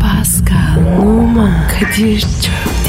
Pascal, Oman, Kadir çok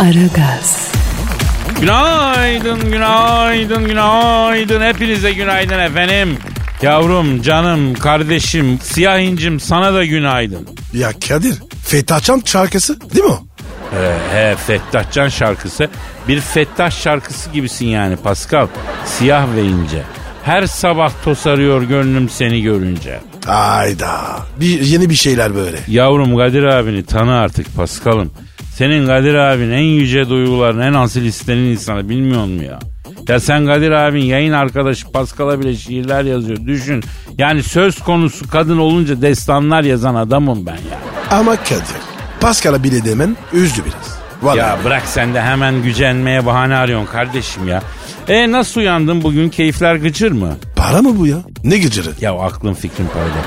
Aragaz, Günaydın, günaydın, günaydın. Hepinize günaydın efendim. Yavrum, canım, kardeşim, siyah incim sana da günaydın. Ya Kadir, Fethi Açan şarkısı değil mi o? Ee, he, Fettahcan şarkısı. Bir Fettah şarkısı gibisin yani Pascal. Siyah ve ince. Her sabah tosarıyor gönlüm seni görünce. Ayda. Bir, yeni bir şeyler böyle. Yavrum Kadir abini tanı artık Paskal'ım. Senin Kadir abin en yüce duyguların en asil istenen insanı bilmiyor mu ya? Ya sen Kadir abin yayın arkadaşı Paskal'a bile şiirler yazıyor. Düşün yani söz konusu kadın olunca destanlar yazan adamım ben ya. Ama Kadir, Pascal'a bile demen üzdü biraz. Ya Vallahi. bırak sen de hemen gücenmeye bahane arıyorsun kardeşim ya. E nasıl uyandın bugün keyifler gıcır mı? Para mı bu ya? Ne gıcırı? Ya aklın fikrin paylaşıyor.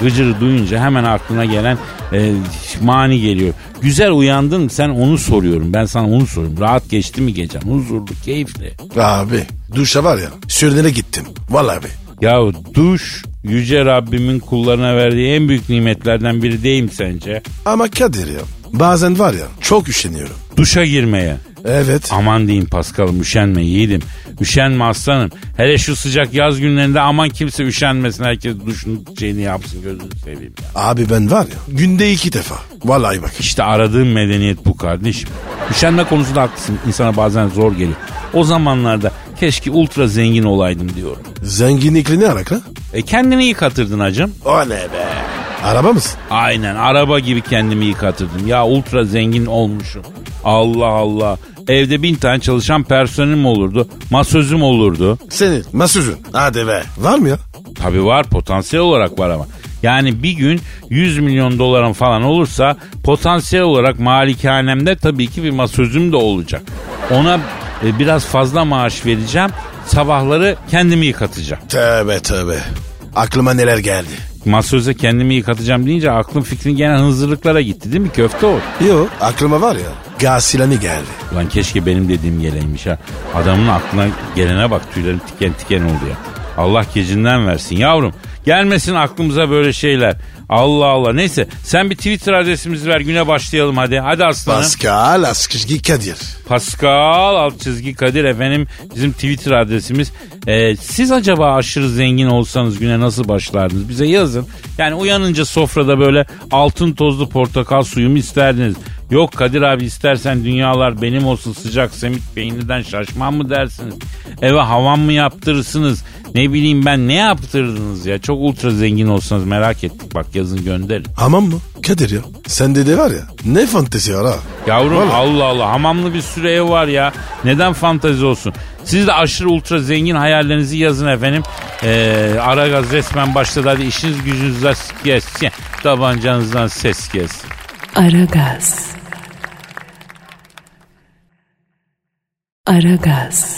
Gıcırı duyunca hemen aklına gelen e, mani geliyor. Güzel uyandın sen onu soruyorum. Ben sana onu soruyorum. Rahat geçti mi gecen? Huzurlu, keyifli. Abi, duşa var ya, sürünene gittim. Vallahi abi. Ya duş yüce Rabbimin kullarına verdiği en büyük nimetlerden biri değil mi sence? Ama Kadir ya, bazen var ya, çok üşeniyorum. Duşa girmeye. Evet. Aman diyeyim Paskal'ım üşenme yiğidim. Üşenme aslanım. Hele şu sıcak yaz günlerinde aman kimse üşenmesin. Herkes duşun şeyini yapsın gözünü seveyim ya. Abi ben var ya, günde iki defa. Vallahi bak. İşte aradığım medeniyet bu kardeşim. Üşenme konusunda haklısın. İnsana bazen zor geliyor. O zamanlarda keşke ultra zengin olaydım diyorum. Zenginlikle ne alaka? E kendini yıkatırdın hacım. O ne be? Araba mısın? Aynen araba gibi kendimi yıkatırdım. Ya ultra zengin olmuşum. Allah Allah. Evde bin tane çalışan personelim olurdu. Masözüm olurdu. Senin, masözün. Hadi be. Var mı ya? Tabii var potansiyel olarak var ama. Yani bir gün 100 milyon dolarım falan olursa potansiyel olarak malikanemde tabii ki bir masözüm de olacak. Ona e, biraz fazla maaş vereceğim. Sabahları kendimi yıkatacağım. Tövbe tövbe. Aklıma neler geldi. Masöze kendimi yıkatacağım deyince aklım fikrin gene hınzırlıklara gitti değil mi köfte o? Yo aklıma var ya gasilani geldi. Ulan keşke benim dediğim geleymiş ha. Adamın aklına gelene bak tüylerim tiken tiken oldu ya. Allah gecinden versin yavrum. Gelmesin aklımıza böyle şeyler. Allah Allah. Neyse sen bir Twitter adresimizi ver güne başlayalım hadi. Hadi aslanım. Pascal Askışgi Kadir. Pascal alt çizgi Kadir efendim bizim Twitter adresimiz. Ee, siz acaba aşırı zengin olsanız güne nasıl başlardınız? Bize yazın. Yani uyanınca sofrada böyle altın tozlu portakal suyu mu isterdiniz? Yok Kadir abi istersen dünyalar benim olsun sıcak semit peynirden şaşmam mı dersiniz? Eve havan mı yaptırırsınız? Ne bileyim ben ne yaptırdınız ya? Çok ultra zengin olsanız merak ettik bak yazın gönderin. Aman mı? Kadir ya. Sende de var ya ne fantezi var ha. Yavrum Vallahi. Allah Allah hamamlı bir sürü ev var ya. Neden fantezi olsun? Siz de aşırı ultra zengin hayallerinizi yazın efendim. Ee, Aragaz resmen başladı. Hadi işiniz gücünüzden ses gelsin. Tabancanızdan ses gelsin. Aragaz. Aragaz,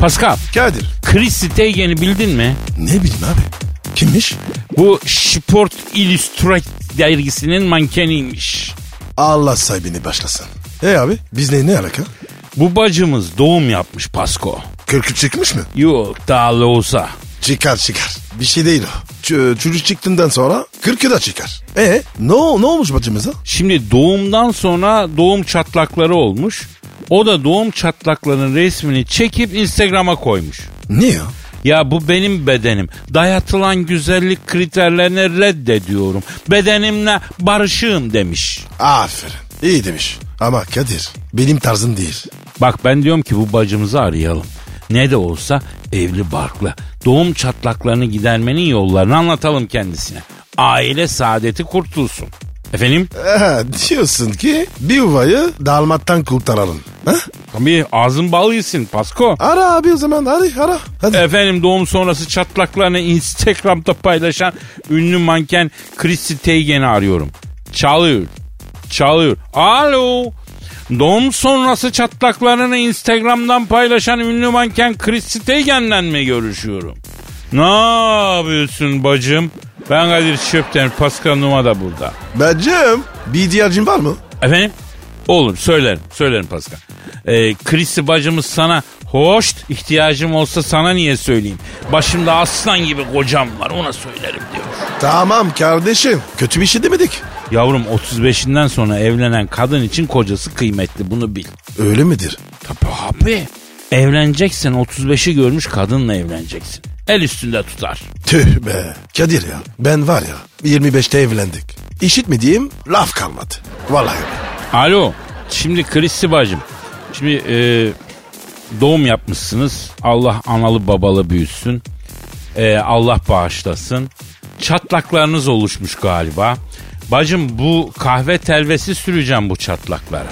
Pascal, Kadir. Chris Steigen'i bildin mi? Ne bileyim abi. Kimmiş? Bu Sport Illustrated dergisinin mankeniymiş. Allah sahibini başlasın. E abi bizle ne alaka? Bu bacımız doğum yapmış Pasko. Kürkü çıkmış mı? Yok daha olsa. Çıkar çıkar. Bir şey değil o. Ç- çocuk çıktığından sonra kürkü de çıkar. E ne, o- ne olmuş bacımıza? Şimdi doğumdan sonra doğum çatlakları olmuş. O da doğum çatlaklarının resmini çekip Instagram'a koymuş. Niye ya? Ya bu benim bedenim. Dayatılan güzellik kriterlerini reddediyorum. Bedenimle barışığım demiş. Aferin. İyi demiş. Ama Kadir benim tarzım değil. Bak ben diyorum ki bu bacımızı arayalım. Ne de olsa evli barklı. Doğum çatlaklarını gidermenin yollarını anlatalım kendisine. Aile saadeti kurtulsun. Efendim? Aha, diyorsun ki bir uvayı dalmattan kurtaralım. Tabii ağzın bal yesin Pasko. Ara abi o zaman hadi ara. Hadi. Efendim doğum sonrası çatlaklarını Instagram'da paylaşan ünlü manken Chrissy Teigen'i arıyorum. Çalıyor. Çalıyor. Alo. Doğum sonrası çatlaklarını Instagram'dan paylaşan ünlü manken Chrissy Teigen'le mi görüşüyorum? Ne yapıyorsun bacım? Ben Kadir Çöpten, Pascal Numa da burada. Bacım bir ihtiyacın var mı? Efendim? Olur söylerim. Söylerim Pascal. Ee, Chrissy bacımız sana hoş ihtiyacım olsa sana niye söyleyeyim? Başımda aslan gibi kocam var ona söylerim diyor. Tamam kardeşim kötü bir şey demedik. Yavrum 35'inden sonra evlenen kadın için kocası kıymetli bunu bil. Öyle midir? Tabii abi. Evleneceksen 35'i görmüş kadınla evleneceksin. El üstünde tutar. Tüh be Kadir ya ben var ya 25'te evlendik. İşitmediğim laf kalmadı. Vallahi öyle. Alo. Şimdi Kristi bacım. Şimdi e, doğum yapmışsınız. Allah analı babalı büyüsün. E, Allah bağışlasın. Çatlaklarınız oluşmuş galiba. Bacım bu kahve telvesi süreceğim bu çatlaklara.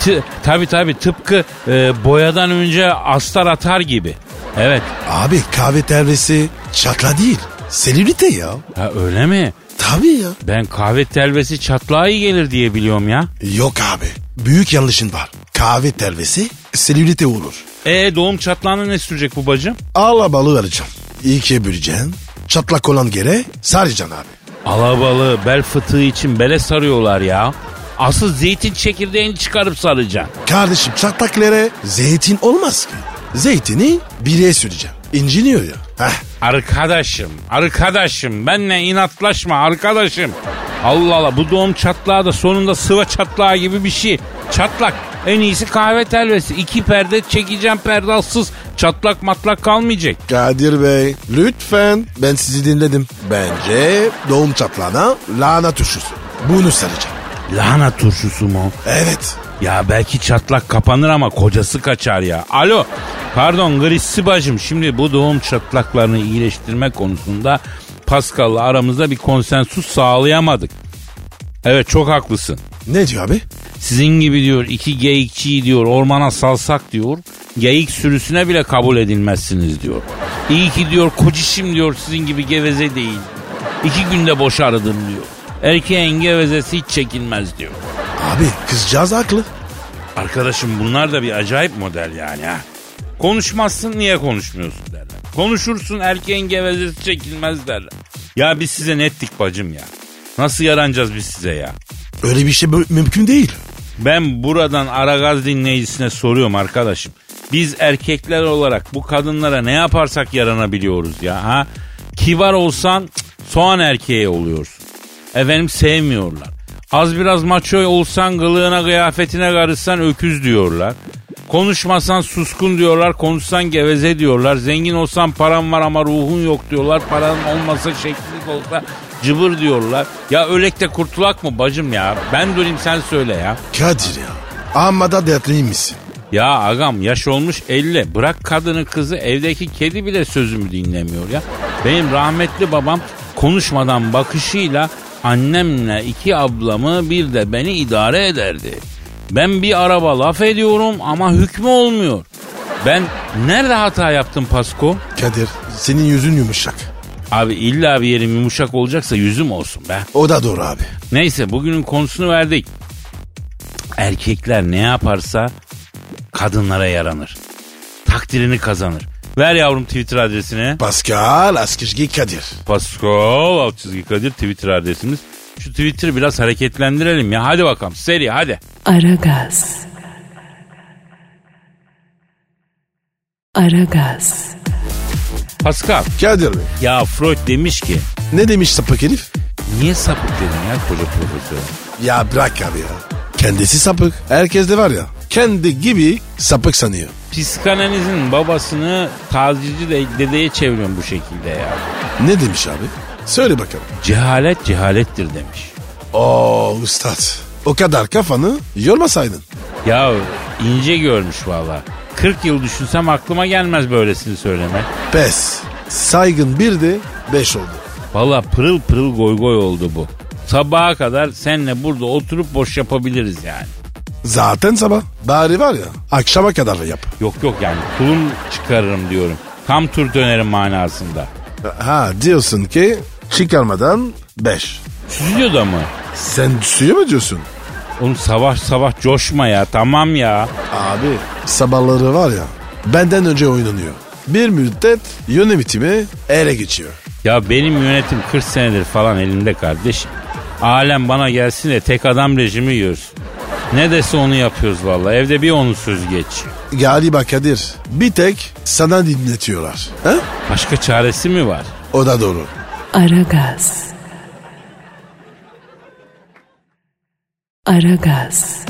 T- tabii tabii tıpkı e, boyadan önce astar atar gibi. Evet. Abi kahve tervesi çatla değil. Selülite ya. Ha, öyle mi? Tabii ya. Ben kahve telvesi çatlağa iyi gelir diye biliyorum ya. Yok abi büyük yanlışın var. Kahve tervesi selülite olur. E doğum çatlağına ne sürecek bu bacım? Ağla balı vereceğim. İkiye böleceksin. Çatlak olan gere saracaksın abi. Alabalığı bel fıtığı için bele sarıyorlar ya. Asıl zeytin çekirdeğini çıkarıp saracaksın. Kardeşim çatlaklara zeytin olmaz ki. Zeytini bireye süreceğim. İnciniyor ya. Heh. Arkadaşım, arkadaşım benle inatlaşma arkadaşım. Allah Allah bu doğum çatlağı da sonunda sıva çatlağı gibi bir şey. Çatlak en iyisi kahve telvesi. İki perde çekeceğim perdalsız. Çatlak matlak kalmayacak. Kadir Bey lütfen ben sizi dinledim. Bence doğum çatlağına lahana turşusu. Bunu saracağım. Lahana turşusu mu? Evet. Ya belki çatlak kapanır ama kocası kaçar ya. Alo. Pardon Grissi bacım şimdi bu doğum çatlaklarını iyileştirme konusunda Pascal'la aramızda bir konsensus sağlayamadık. Evet çok haklısın. Ne diyor abi? Sizin gibi diyor iki geyikçiyi diyor ormana salsak diyor. Geyik sürüsüne bile kabul edilmezsiniz diyor. İyi ki diyor kocişim diyor sizin gibi geveze değil. İki günde boşardım diyor. Erkeğin gevezesi hiç çekilmez diyor. Abi kızcağız haklı. Arkadaşım bunlar da bir acayip model yani ha. Konuşmazsın niye konuşmuyorsun derler. Konuşursun erkeğin gevezesi çekilmez derler. Ya biz size nettik bacım ya. Nasıl yaranacağız biz size ya? Öyle bir şey mü- mümkün değil. Ben buradan Aragaz dinleyicisine soruyorum arkadaşım. Biz erkekler olarak bu kadınlara ne yaparsak yaranabiliyoruz ya ha? Kibar olsan cık, soğan erkeği oluyorsun. Efendim sevmiyorlar. Az biraz maço olsan kılığına kıyafetine karışsan öküz diyorlar. Konuşmasan suskun diyorlar, konuşsan geveze diyorlar. Zengin olsan paran var ama ruhun yok diyorlar. Paran olmasa şekillik olsa cıbır diyorlar. Ya ölekte kurtulak mı bacım ya? Ben durayım sen söyle ya. Kadir ya. Amma da dertliymişsin. Ya agam yaş olmuş 50. Bırak kadını kızı evdeki kedi bile sözümü dinlemiyor ya. Benim rahmetli babam konuşmadan bakışıyla annemle iki ablamı bir de beni idare ederdi. Ben bir araba laf ediyorum ama hükmü olmuyor. Ben nerede hata yaptım Pasko? Kadir senin yüzün yumuşak. Abi illa bir yerim yumuşak olacaksa yüzüm olsun be. O da doğru abi. Neyse bugünün konusunu verdik. Erkekler ne yaparsa kadınlara yaranır. Takdirini kazanır. Ver yavrum Twitter adresini. Pascal Askizgi Kadir. Pascal alt çizgi Kadir Twitter adresimiz. Şu Twitter'ı biraz hareketlendirelim ya. Hadi bakalım seri hadi. Aragaz. Aragaz. Pascal Kadir Bey. ya Freud demiş ki Ne demiş sapık herif? niye sapık dedin ya koca profesör? Ya bırak abi ya. Kendisi sapık. Herkes de var ya. Kendi gibi sapık sanıyor. Psikanalizin babasını tacizci de- dedeye çeviriyorum bu şekilde ya. Ne demiş abi? Söyle bakalım. Cehalet cehalettir demiş. Oo ustad. O kadar kafanı yormasaydın. Ya ince görmüş valla. 40 yıl düşünsem aklıma gelmez böylesini söylemek. Pes. Saygın bir de beş oldu. Valla pırıl pırıl goy goy oldu bu. Sabaha kadar senle burada oturup boş yapabiliriz yani. Zaten sabah. Bari var ya akşama kadar yap. Yok yok yani tulum çıkarırım diyorum. Tam tur dönerim manasında. Ha diyorsun ki çıkarmadan 5. Stüdyoda mı? Sen suyu mu diyorsun? Oğlum sabah sabah coşma ya tamam ya. Abi sabahları var ya benden önce oynanıyor. Bir müddet yönetimi ele geçiyor. Ya benim yönetim 40 senedir falan elimde kardeşim. Alem bana gelsin de tek adam rejimi yiyoruz. Ne dese onu yapıyoruz valla. Evde bir onu söz geç. Galiba Kadir bir tek sana dinletiyorlar. Ha? Başka çaresi mi var? O da doğru. Aragaz. Aragaz.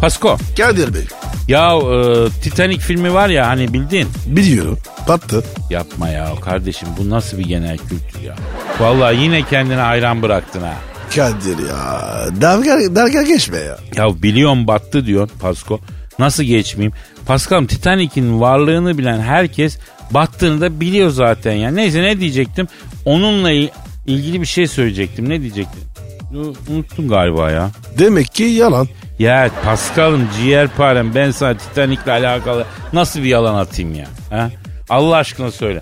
Pasko. Kadir Bey Ya e, Titanic filmi var ya hani bildin. biliyorum battı. Yapma ya kardeşim bu nasıl bir genel kültür ya. Valla yine kendine hayran bıraktın ha. Kadir ya dalga, dalga geçme ya. Ya biliyorum battı diyor Pasko. Nasıl geçmeyeyim? Paskal'ım Titanic'in varlığını bilen herkes battığını da biliyor zaten ya. Neyse ne diyecektim? Onunla il- ilgili bir şey söyleyecektim. Ne diyecektim? Yo, Unuttum galiba ya. Demek ki yalan. Ya Paskal'ım ciğerparem ben sana Titanic'le alakalı nasıl bir yalan atayım ya? Ha? Allah aşkına söyle.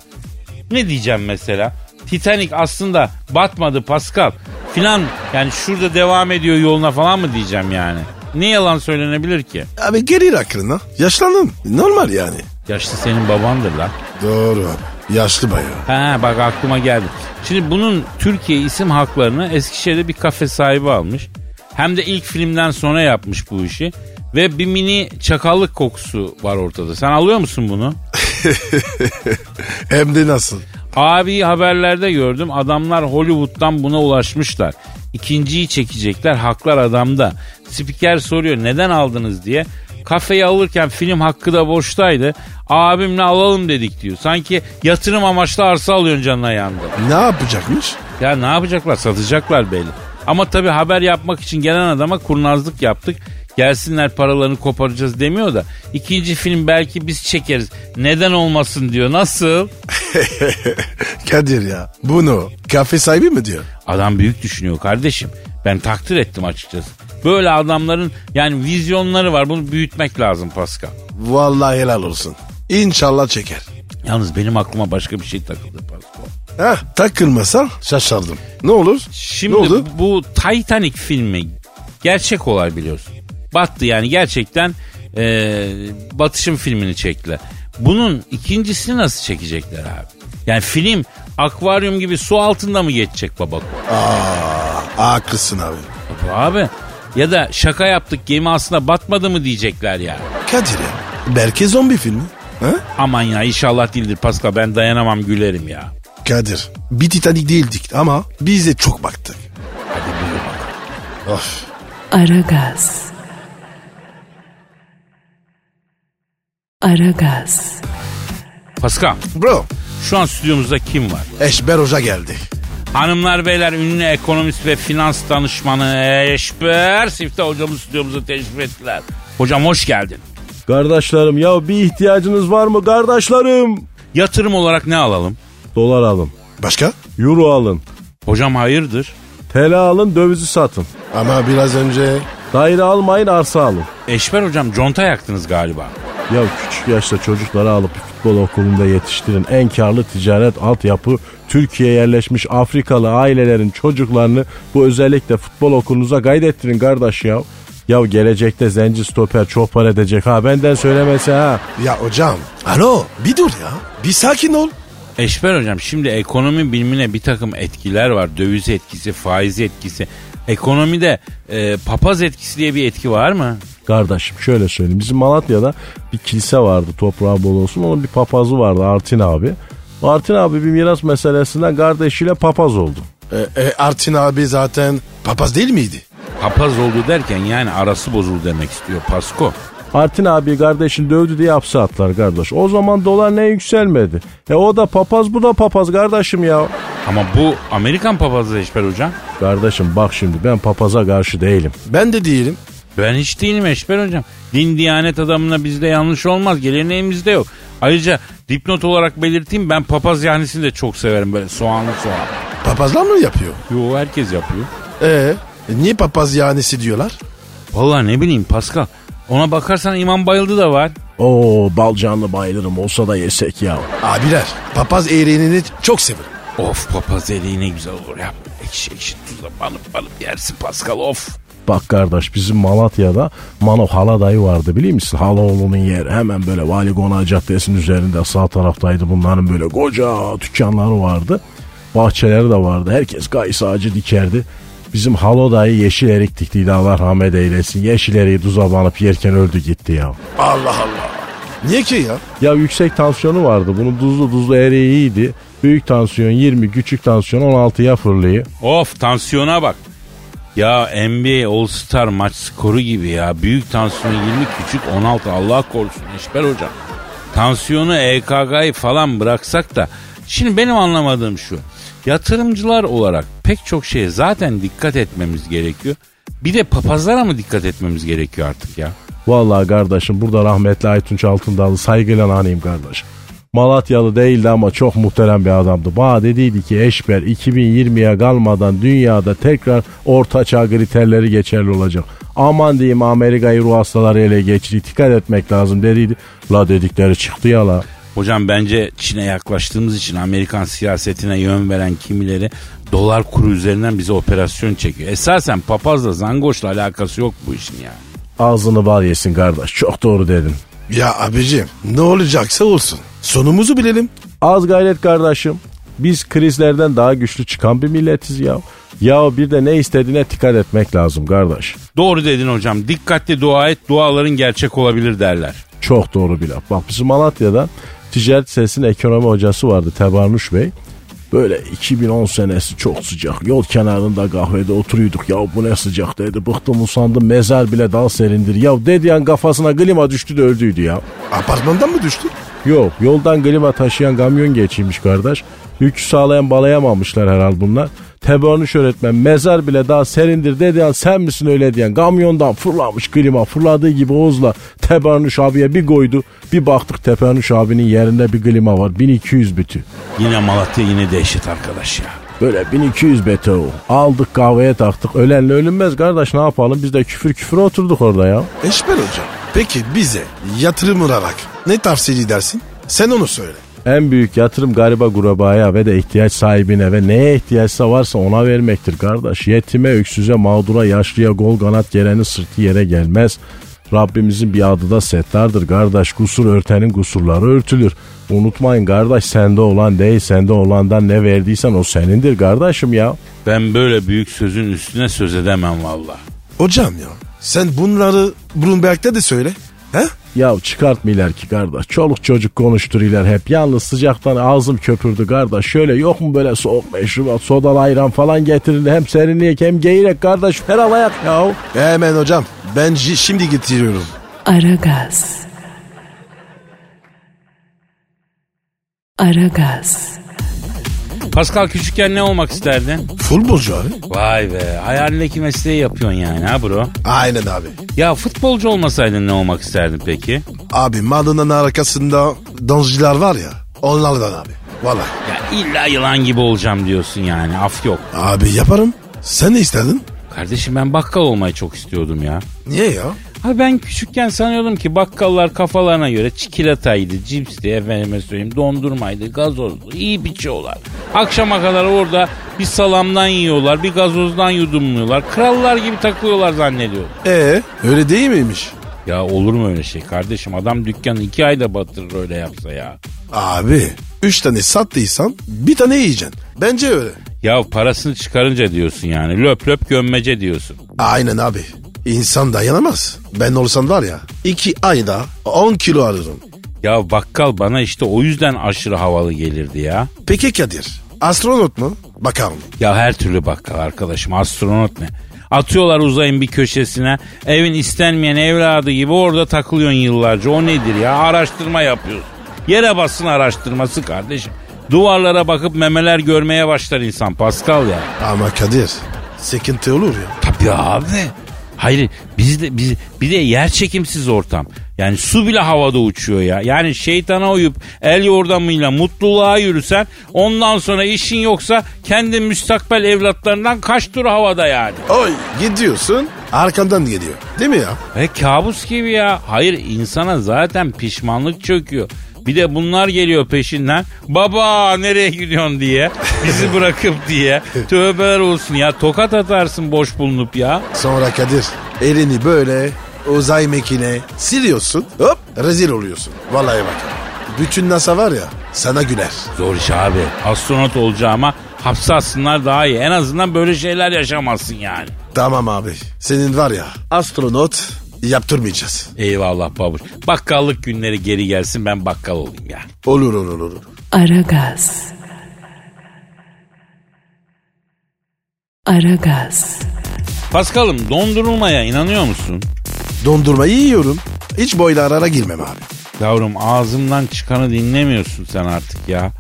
Ne diyeceğim mesela? Titanic aslında batmadı Pascal filan yani şurada devam ediyor yoluna falan mı diyeceğim yani? Ne yalan söylenebilir ki? Abi gelir aklına. Yaşlandım. Normal yani. Yaşlı senin babandır lan. Doğru abi. Yaşlı bayağı. Ha bak aklıma geldi. Şimdi bunun Türkiye isim haklarını Eskişehir'de bir kafe sahibi almış. Hem de ilk filmden sonra yapmış bu işi. Ve bir mini çakallık kokusu var ortada. Sen alıyor musun bunu? Hem de nasıl? Abi haberlerde gördüm adamlar Hollywood'dan buna ulaşmışlar. İkinciyi çekecekler haklar adamda. Spiker soruyor neden aldınız diye. Kafeyi alırken film hakkı da boştaydı. Abimle alalım dedik diyor. Sanki yatırım amaçlı arsa alıyorsun canına yandı. Ne yapacakmış? Ya ne yapacaklar satacaklar belli. Ama tabii haber yapmak için gelen adama kurnazlık yaptık. Gelsinler paralarını koparacağız demiyor da. ikinci film belki biz çekeriz. Neden olmasın diyor. Nasıl? Kadir ya. Bunu kafe sahibi mi diyor? Adam büyük düşünüyor kardeşim. Ben takdir ettim açıkçası. Böyle adamların yani vizyonları var. Bunu büyütmek lazım Pascal. Vallahi helal olsun. İnşallah çeker. Yalnız benim aklıma başka bir şey takıldı Pascal. Heh, takılmasa şaşardım. Ne olur? Şimdi ne oldu? bu Titanic filmi gerçek olay biliyorsun. Battı yani gerçekten e, batışım filmini çektiler. Bunun ikincisini nasıl çekecekler abi? Yani film akvaryum gibi su altında mı geçecek baba? Haklısın abi. Abi ya da şaka yaptık gemi aslında batmadı mı diyecekler yani. Kadir ya. Belki zombi filmi. Ha? Aman ya inşallah değildir Pascal ben dayanamam gülerim ya. Kadir. Bir Titanic değildik ama bize çok baktık. Of. Aragaz. Aragaz. Pascal Bro. şu an stüdyomuzda kim var? Eşber Hoca geldi. Hanımlar beyler ünlü ekonomist ve finans danışmanı Eşber Siftah hocamız stüdyomuza teşrif ettiler. Hocam hoş geldin. Kardeşlerim ya bir ihtiyacınız var mı kardeşlerim? Yatırım olarak ne alalım? Dolar alın, Başka? euro alın, Hocam hayırdır? TL alın, dövizi satın. Ama biraz önce... Daire almayın, arsa alın. Eşber hocam conta yaktınız galiba. Ya küçük yaşta çocukları alıp bir futbol okulunda yetiştirin. En karlı ticaret altyapı Türkiye'ye yerleşmiş Afrikalı ailelerin çocuklarını bu özellikle futbol okulunuza kaydettirin kardeş ya. Ya gelecekte zenci stoper çok para edecek ha benden söylemesi ha. Ya hocam. Alo bir dur ya. Bir sakin ol. Eşber hocam şimdi ekonomi bilimine bir takım etkiler var. Döviz etkisi, faiz etkisi. Ekonomide e, papaz etkisi diye bir etki var mı? Kardeşim şöyle söyleyeyim. Bizim Malatya'da bir kilise vardı toprağı bol olsun. Onun bir papazı vardı Artin abi. Artin abi bir miras meselesinden kardeşiyle papaz oldu. E, e, Artin abi zaten papaz değil miydi? Papaz oldu derken yani arası bozuldu demek istiyor Pasko. Artin abi kardeşini dövdü diye hapse attılar kardeş. O zaman dolar ne yükselmedi. E o da papaz bu da papaz kardeşim ya. Ama bu Amerikan papazı Eşber hocam. Kardeşim bak şimdi ben papaza karşı değilim. Ben de değilim. Ben hiç değilim Eşber hocam. Din diyanet adamına bizde yanlış olmaz. Geleneğimizde yok. Ayrıca dipnot olarak belirteyim ben papaz yahnisini de çok severim böyle soğanlı soğan. Papazlar mı yapıyor? Yo herkes yapıyor. Ee, niye papaz yanesi diyorlar? Vallahi ne bileyim Pascal. Ona bakarsan İmam Bayıldı da var. Oo balcanlı bayılırım olsa da yesek ya. Abiler papaz eğrenini çok severim. Of papaz eriği ne güzel olur ya. Ekşi ekşi tuzla banıp banıp yersin Pascal of. Bak kardeş bizim Malatya'da Mano Hala dayı vardı biliyor musun? Halaoğlu'nun yeri hemen böyle Vali Konağı Caddesi'nin üzerinde sağ taraftaydı. Bunların böyle koca dükkanları vardı. Bahçeleri de vardı. Herkes kayısı ağacı dikerdi. Bizim Halo dayı yeşil erik diktiydi Allah rahmet eylesin. Yeşil eriği tuza banıp yerken öldü gitti ya. Allah Allah. Niye ki ya? Ya yüksek tansiyonu vardı. Bunun tuzlu tuzlu eriği iyiydi. Büyük tansiyon 20, küçük tansiyon 16'ya fırlıyor. Of tansiyona bak. Ya NBA All Star maç skoru gibi ya. Büyük tansiyon 20 küçük 16 Allah korusun Eşber hocam. Tansiyonu EKG'yi falan bıraksak da. Şimdi benim anlamadığım şu. Yatırımcılar olarak pek çok şeye zaten dikkat etmemiz gerekiyor. Bir de papazlara mı dikkat etmemiz gerekiyor artık ya? Vallahi kardeşim burada rahmetli Aytunç Altındağlı saygıyla anayım kardeş. Malatyalı değildi ama çok muhterem bir adamdı. Bana dediydi ki Eşber 2020'ye kalmadan dünyada tekrar orta çağ kriterleri geçerli olacak. Aman diyeyim Amerika'yı ruh hastaları ele geçirdi. Dikkat etmek lazım dediydi. La dedikleri çıktı ya la. Hocam bence Çin'e yaklaştığımız için Amerikan siyasetine yön veren kimileri dolar kuru üzerinden bize operasyon çekiyor. Esasen papazla zangoşla alakası yok bu işin ya. Ağzını bal yesin kardeş. Çok doğru dedin. Ya abicim ne olacaksa olsun. Sonumuzu bilelim. Az gayret kardeşim. Biz krizlerden daha güçlü çıkan bir milletiz ya. Ya bir de ne istediğine dikkat etmek lazım kardeş. Doğru dedin hocam. Dikkatli dua et duaların gerçek olabilir derler. Çok doğru bir laf. Bak bizim Malatya'da ticaret sesinin ekonomi hocası vardı Tebarnuş Bey. Böyle 2010 senesi çok sıcak. Yol kenarında kahvede oturuyorduk. Ya bu ne sıcak dedi. Bıktım usandım mezar bile daha serindir. Ya dediyen kafasına klima düştü de öldüydü ya. Apartmandan mı düştün? Yok yoldan klima taşıyan kamyon geçiymiş kardeş. Yükü sağlayan balayamamışlar herhal bunlar. Tebarnuş öğretmen mezar bile daha serindir dedi an sen misin öyle diyen kamyondan fırlamış klima fırladığı gibi Oğuz'la Tebarnuş abiye bir koydu. Bir baktık Tebarnuş abinin yerinde bir klima var 1200 bütü. Yine Malatya yine dehşet arkadaş ya. Böyle 1200 bütü o. Aldık kahveye taktık ölenle ölünmez kardeş ne yapalım biz de küfür küfür oturduk orada ya. Eşber hocam. Peki bize yatırım olarak ne tavsiye edersin? Sen onu söyle. En büyük yatırım gariba gurabaya ve de ihtiyaç sahibine ve neye ihtiyaçsa varsa ona vermektir kardeş. Yetime, öksüze, mağdura, yaşlıya, gol kanat gelenin sırtı yere gelmez. Rabbimizin bir adı da settardır kardeş. Kusur örtenin kusurları örtülür. Unutmayın kardeş sende olan değil sende olandan ne verdiysen o senindir kardeşim ya. Ben böyle büyük sözün üstüne söz edemem valla. Hocam ya sen bunları Bloomberg'de de söyle. He? Ya çıkartmıyorlar ki kardeş. Çoluk çocuk konuşturuyorlar hep. Yalnız sıcaktan ağzım köpürdü kardeş. Şöyle yok mu böyle soğuk meşrubat, sodalı ayran falan getirin. Hem serinleyek hem geyrek kardeş. Ferahlayak ya. Hemen hocam ben ji- şimdi getiriyorum. Aragaz. Aragaz. Pascal küçükken ne olmak isterdin? Futbolcu abi. Vay be hayalindeki mesleği yapıyorsun yani ha bro. Aynen abi. Ya futbolcu olmasaydın ne olmak isterdin peki? Abi Madona'nın arkasında dansçılar var ya onlardan abi. Valla. Ya illa yılan gibi olacağım diyorsun yani af yok. Abi yaparım. Sen ne istedin? Kardeşim ben bakkal olmayı çok istiyordum ya. Niye ya? Ha ben küçükken sanıyordum ki bakkallar kafalarına göre çikolataydı, cipsti, efendime söyleyeyim dondurmaydı, gazozdu, iyi biçiyorlar. Akşama kadar orada bir salamdan yiyorlar, bir gazozdan yudumluyorlar. Krallar gibi takılıyorlar zannediyorum. Ee öyle değil miymiş? Ya olur mu öyle şey kardeşim? Adam dükkanı iki ayda batırır öyle yapsa ya. Abi üç tane sattıysan bir tane yiyeceksin. Bence öyle. Ya parasını çıkarınca diyorsun yani. Löp löp gömmece diyorsun. Aynen abi. İnsan dayanamaz. Ben olsam var ya iki ayda 10 kilo alırım. Ya bakkal bana işte o yüzden aşırı havalı gelirdi ya. Peki Kadir astronot mu? Bakalım. Ya her türlü bakkal arkadaşım astronot ne? Atıyorlar uzayın bir köşesine. Evin istenmeyen evladı gibi orada takılıyorsun yıllarca. O nedir ya? Araştırma yapıyorsun. Yere basın araştırması kardeşim. Duvarlara bakıp memeler görmeye başlar insan Pascal ya. Ama Kadir sıkıntı olur ya. Tabii abi. Hayır biz de biz bir de yer çekimsiz ortam. Yani su bile havada uçuyor ya. Yani şeytana uyup el yordamıyla mutluluğa yürüsen ondan sonra işin yoksa kendi müstakbel evlatlarından kaç tur havada yani. Oy gidiyorsun Arkamdan geliyor. Değil mi ya? E kabus gibi ya. Hayır insana zaten pişmanlık çöküyor. Bir de bunlar geliyor peşinden. Baba nereye gidiyorsun diye. Bizi bırakıp diye. Tövbeler olsun ya. Tokat atarsın boş bulunup ya. Sonra Kadir elini böyle uzay mekine siliyorsun. Hop rezil oluyorsun. Vallahi bak. Bütün NASA var ya sana güler. Zor iş abi. Astronot olacağıma hapse atsınlar daha iyi. En azından böyle şeyler yaşamazsın yani. Tamam abi. Senin var ya astronot yaptırmayacağız. Eyvallah babuş. Bakkallık günleri geri gelsin ben bakkal olayım yani. Olur olur olur. Aragaz. Aragaz. Paskal'ım dondurulmaya inanıyor musun? Dondurmayı yiyorum. Hiç boylarara girmem abi. Yavrum ağzımdan çıkanı dinlemiyorsun sen artık ya.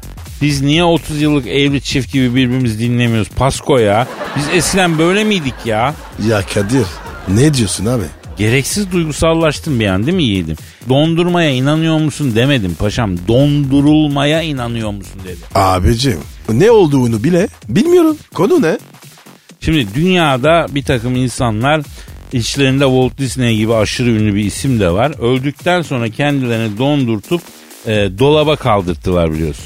Biz niye 30 yıllık evli çift gibi birbirimizi dinlemiyoruz Pasko ya? Biz eskiden böyle miydik ya? Ya Kadir ne diyorsun abi? Gereksiz duygusallaştım bir an değil mi yiğidim? Dondurmaya inanıyor musun demedim paşam. Dondurulmaya inanıyor musun dedim. Abicim ne olduğunu bile bilmiyorum. Konu ne? Şimdi dünyada bir takım insanlar içlerinde Walt Disney gibi aşırı ünlü bir isim de var. Öldükten sonra kendilerini dondurtup e, dolaba kaldırttılar biliyorsun.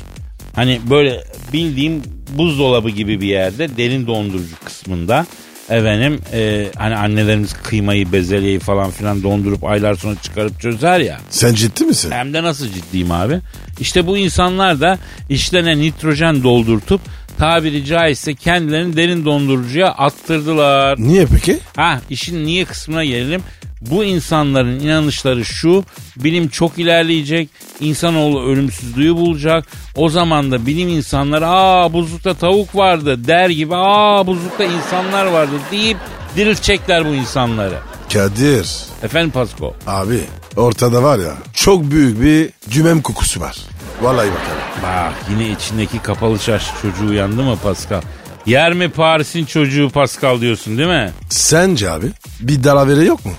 Hani böyle bildiğim buzdolabı gibi bir yerde derin dondurucu kısmında efendim e, hani annelerimiz kıymayı bezelyeyi falan filan dondurup aylar sonra çıkarıp çözer ya. Sen ciddi misin? Hem de nasıl ciddiyim abi. İşte bu insanlar da işlerine nitrojen doldurtup tabiri caizse kendilerini derin dondurucuya attırdılar. Niye peki? Ha işin niye kısmına gelelim. Bu insanların inanışları şu. Bilim çok ilerleyecek. insanoğlu ölümsüzlüğü bulacak. O zaman da bilim insanları aa buzlukta tavuk vardı der gibi aa buzlukta insanlar vardı deyip diriltecekler bu insanları. Kadir Efendim Pasko. abi ortada var ya çok büyük bir cümem kokusu var. Vallahi bak abi. Bak yine içindeki kapalı çarşı çocuğu uyandı mı Pascal? Yer mi Paris'in çocuğu Pascal diyorsun değil mi? Sence abi bir dalavere yok mu?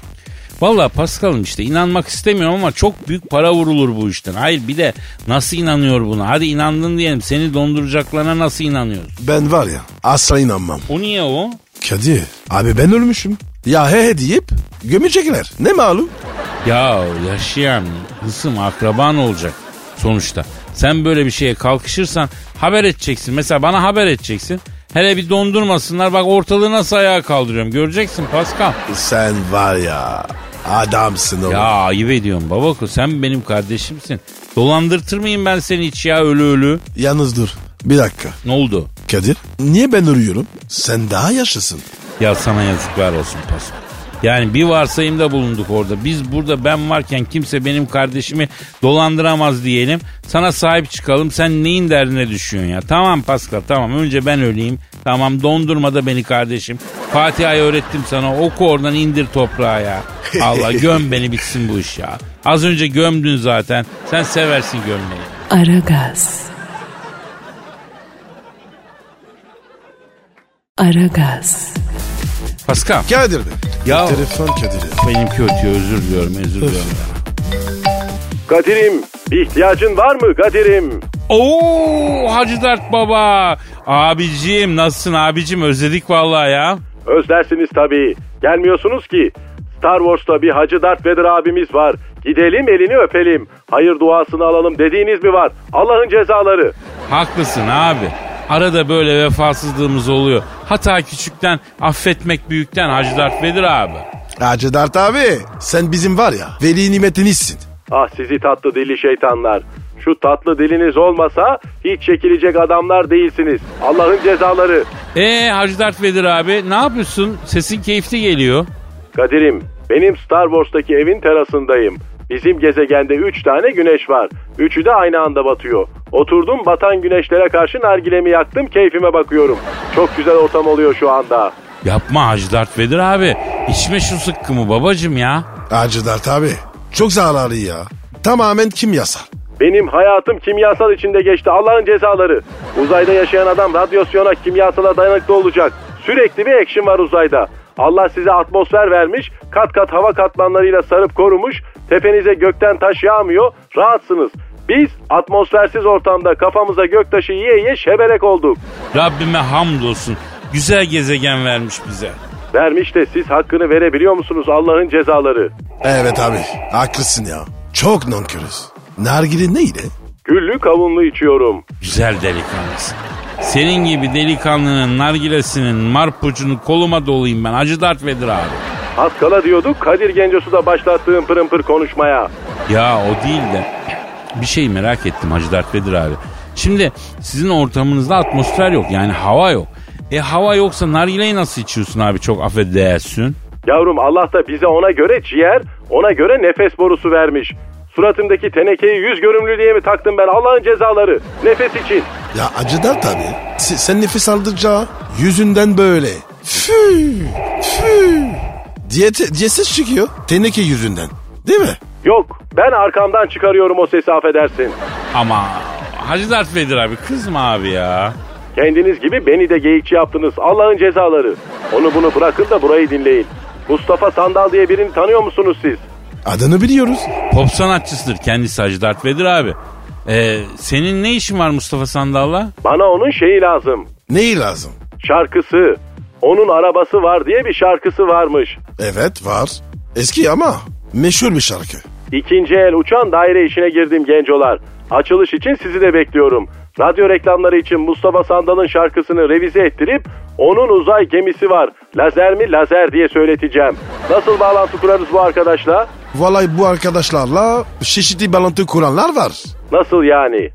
Valla Pascal'ım işte inanmak istemiyorum ama çok büyük para vurulur bu işten. Hayır bir de nasıl inanıyor buna? Hadi inandın diyelim seni donduracaklarına nasıl inanıyorsun? Ben var ya asla inanmam. O niye o? Kadir abi ben ölmüşüm. Ya he he deyip gömecekler. Ne malum? Ya yaşayan hısım akraban olacak sonuçta. Sen böyle bir şeye kalkışırsan haber edeceksin. Mesela bana haber edeceksin. Hele bir dondurmasınlar bak ortalığı nasıl ayağa kaldırıyorum. Göreceksin Pascal. Sen var ya adamsın oğlum. Ya ayıp ediyorum babako sen benim kardeşimsin. Dolandırtır mıyım ben seni hiç ya ölü ölü? Yalnız dur bir dakika. Ne oldu? Kadir niye ben ölüyorum? Sen daha yaşlısın. Ya sana yazıklar olsun Pasko. Yani bir varsayımda bulunduk orada. Biz burada ben varken kimse benim kardeşimi dolandıramaz diyelim. Sana sahip çıkalım. Sen neyin derdine düşüyorsun ya? Tamam Pascal tamam. Önce ben öleyim. Tamam dondurma da beni kardeşim. Fatiha'yı öğrettim sana. Oku oradan indir toprağa ya. Allah göm beni bitsin bu iş ya. Az önce gömdün zaten. Sen seversin gömmeyi. Aragaz. Aragaz. Pascal. Kadir be. Ya Telefon Kadir ya. benimki ötüyor özür diliyorum özür diliyorum. Kadir'im bir ihtiyacın var mı Kadir'im? Oo Hacı Dert Baba. Abicim nasılsın abicim özledik vallahi ya. Özlersiniz tabii. Gelmiyorsunuz ki. Star Wars'ta bir Hacı Darth Vader abimiz var. Gidelim elini öpelim. Hayır duasını alalım dediğiniz mi var? Allah'ın cezaları. Haklısın abi. Arada böyle vefasızlığımız oluyor. Hata küçükten affetmek büyükten Hacı Dert Vedir abi. Hacı Dert abi sen bizim var ya veli nimetinizsin. Ah sizi tatlı dili şeytanlar. Şu tatlı diliniz olmasa hiç çekilecek adamlar değilsiniz. Allah'ın cezaları. Ee Hacı Dert Vedir abi ne yapıyorsun? Sesin keyifli geliyor. Kadir'im benim Star Wars'taki evin terasındayım. Bizim gezegende 3 tane güneş var. Üçü de aynı anda batıyor. Oturdum batan güneşlere karşı nargilemi yaktım keyfime bakıyorum. Çok güzel ortam oluyor şu anda. Yapma Hacı Dert Vedir abi. İçme şu sıkkımı babacım ya. Hacı Dert abi çok zararlı ya. Tamamen kimyasal. Benim hayatım kimyasal içinde geçti Allah'ın cezaları. Uzayda yaşayan adam radyasyona kimyasala dayanıklı olacak. Sürekli bir action var uzayda. Allah size atmosfer vermiş, kat kat hava katmanlarıyla sarıp korumuş, tepenize gökten taş yağmıyor, rahatsınız. Biz atmosfersiz ortamda kafamıza göktaşı yiye yiye şebelek olduk. Rabbime hamdolsun. Güzel gezegen vermiş bize. Vermiş de siz hakkını verebiliyor musunuz Allah'ın cezaları? Evet abi haklısın ya. Çok nankörüz. Nargile neydi? Güllü kavunlu içiyorum. Güzel delikanlısın. Senin gibi delikanlının nargilesinin marpucunu koluma dolayayım ben. Acı Darth Vader abi. Az kala diyorduk Kadir Gencosu da başlattığım pırın pır konuşmaya. Ya o değil de bir şey merak ettim Hacı Darth Vader abi. Şimdi sizin ortamınızda atmosfer yok yani hava yok. E hava yoksa nargileyi nasıl içiyorsun abi çok affedersin. Yavrum Allah da bize ona göre ciğer, ona göre nefes borusu vermiş. Suratımdaki tenekeyi yüz görümlü diye mi taktım ben Allah'ın cezaları? Nefes için. Ya acıdar tabii. Se- sen nefes aldıkça yüzünden böyle. Fü, fü. Diyete, diyesiz çıkıyor. Teneke yüzünden. Değil mi? Yok ben arkamdan çıkarıyorum o sesi affedersin. Ama Hacı Darth Vader abi kızma abi ya. Kendiniz gibi beni de geyikçi yaptınız Allah'ın cezaları. Onu bunu bırakın da burayı dinleyin. Mustafa Sandal diye birini tanıyor musunuz siz? Adını biliyoruz. Pop sanatçısıdır kendisi Hacı Darth Vader abi. E, senin ne işin var Mustafa Sandal'la? Bana onun şeyi lazım. Neyi lazım? Şarkısı. Onun arabası var diye bir şarkısı varmış. Evet var. Eski ama meşhur bir şarkı. İkinci el uçan daire işine girdim gencolar. Açılış için sizi de bekliyorum. Radyo reklamları için Mustafa Sandal'ın şarkısını revize ettirip onun uzay gemisi var. Lazer mi lazer diye söyleteceğim. Nasıl bağlantı kurarız bu arkadaşla? Vallahi bu arkadaşlarla çeşitli bağlantı kuranlar var. Nasıl yani?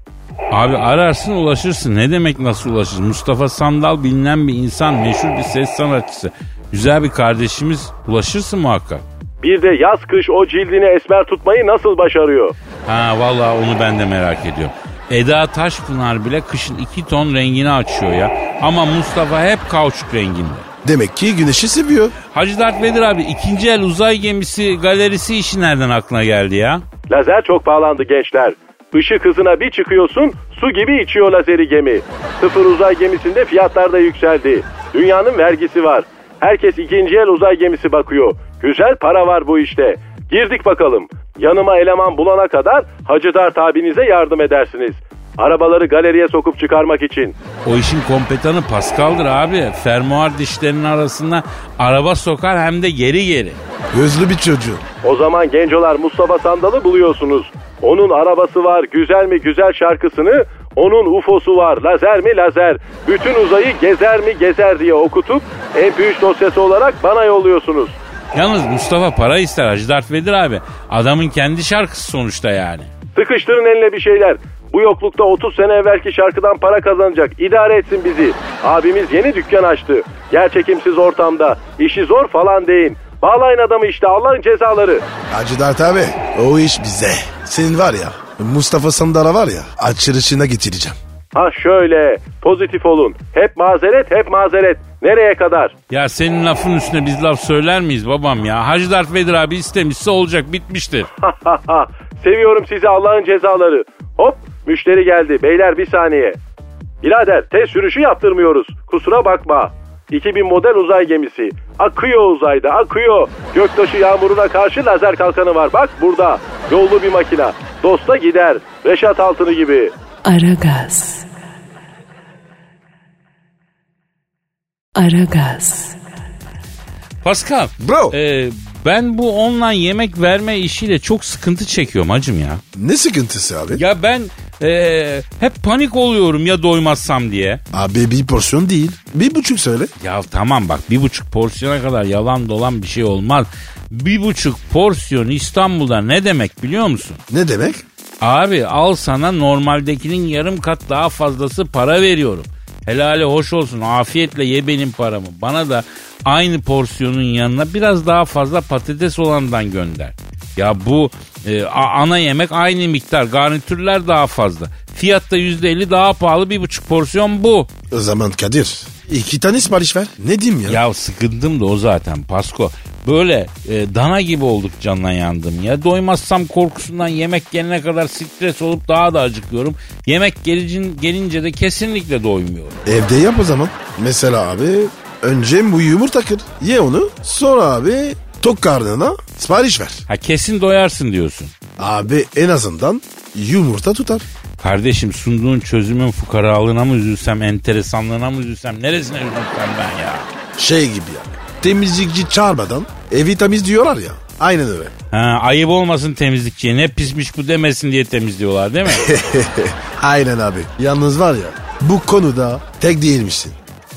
Abi ararsın ulaşırsın. Ne demek nasıl ulaşır? Mustafa Sandal bilinen bir insan, meşhur bir ses sanatçısı. Güzel bir kardeşimiz. Ulaşırsın muhakkak. Bir de yaz kış o cildini esmer tutmayı nasıl başarıyor? Ha vallahi onu ben de merak ediyorum. Eda Taşpınar bile kışın iki ton rengini açıyor ya. Ama Mustafa hep kauçuk renginde. Demek ki güneşi seviyor. Hacı Dert Vedir abi ikinci el uzay gemisi galerisi işi nereden aklına geldi ya? Lazer çok pahalandı gençler. Işık hızına bir çıkıyorsun, su gibi içiyor lazeri gemi. Sıfır uzay gemisinde fiyatlar da yükseldi. Dünyanın vergisi var. Herkes ikinci el uzay gemisi bakıyor. Güzel para var bu işte. Girdik bakalım. Yanıma eleman bulana kadar Hacı Dert abinize yardım edersiniz. Arabaları galeriye sokup çıkarmak için. O işin kompetanı Pascal'dır abi. Fermuar dişlerinin arasında araba sokar hem de geri geri. Gözlü bir çocuğu. O zaman gencolar Mustafa Sandal'ı buluyorsunuz. Onun arabası var, güzel mi güzel şarkısını, onun UFO'su var, lazer mi lazer, bütün uzayı gezer mi gezer diye okutup MP3 dosyası olarak bana yolluyorsunuz. Yalnız Mustafa para ister Hacı Dert Vedir abi. Adamın kendi şarkısı sonuçta yani. Sıkıştırın eline bir şeyler. Bu yoklukta 30 sene evvelki şarkıdan para kazanacak. İdare etsin bizi. Abimiz yeni dükkan açtı. Yer çekimsiz ortamda. İşi zor falan deyin. Bağlayın adamı işte Allah'ın cezaları. Hacı Dert abi o iş bize. Senin var ya Mustafa Sandal'a var ya açılışına getireceğim. Ha şöyle pozitif olun. Hep mazeret hep mazeret. Nereye kadar? Ya senin lafın üstüne biz laf söyler miyiz babam ya? Hacı Dert Vedir abi istemişse olacak bitmiştir. Seviyorum sizi Allah'ın cezaları. Hop müşteri geldi. Beyler bir saniye. Birader test sürüşü yaptırmıyoruz. Kusura bakma. 2000 model uzay gemisi. Akıyor uzayda akıyor. Göktaşı yağmuruna karşı lazer kalkanı var. Bak burada. Yollu bir makina. Dosta gider. Reşat altını gibi. Aragaz. Aragaz. Pascal. Bro. e, ben bu online yemek verme işiyle çok sıkıntı çekiyorum hacım ya. Ne sıkıntısı abi? Ya ben e, hep panik oluyorum ya doymazsam diye. Abi bir porsiyon değil. Bir buçuk söyle. Ya tamam bak bir buçuk porsiyona kadar yalan dolan bir şey olmaz. Bir buçuk porsiyon İstanbul'da ne demek biliyor musun? Ne demek? Abi al sana normaldekinin yarım kat daha fazlası para veriyorum. Helali hoş olsun afiyetle ye benim paramı. Bana da aynı porsiyonun yanına biraz daha fazla patates olandan gönder. Ya bu e, a- ana yemek aynı miktar garnitürler daha fazla. Fiyatta %50 daha pahalı bir buçuk porsiyon bu. O zaman Kadir iki tane sipariş ver. Ne diyeyim ya? Ya sıkındım da o zaten Pasko. Böyle e, dana gibi olduk canla yandım ya. Doymazsam korkusundan yemek gelene kadar stres olup daha da acıkıyorum. Yemek gelicin, gelince de kesinlikle doymuyorum. Evde yap o zaman. Mesela abi önce bu yumurta kır. Ye onu. Sonra abi tok karnına sipariş ver. Ha kesin doyarsın diyorsun. Abi en azından yumurta tutar. Kardeşim sunduğun çözümün fukaralığına mı üzülsem, enteresanlığına mı üzülsem, neresine üzülsem ben ya? Şey gibi ya. temizlikçi çağırmadan evi temiz diyorlar ya. Aynen öyle. Ha, ayıp olmasın temizlikçiye ne pismiş bu demesin diye temizliyorlar değil mi? Aynen abi. Yalnız var ya bu konuda tek değilmişsin.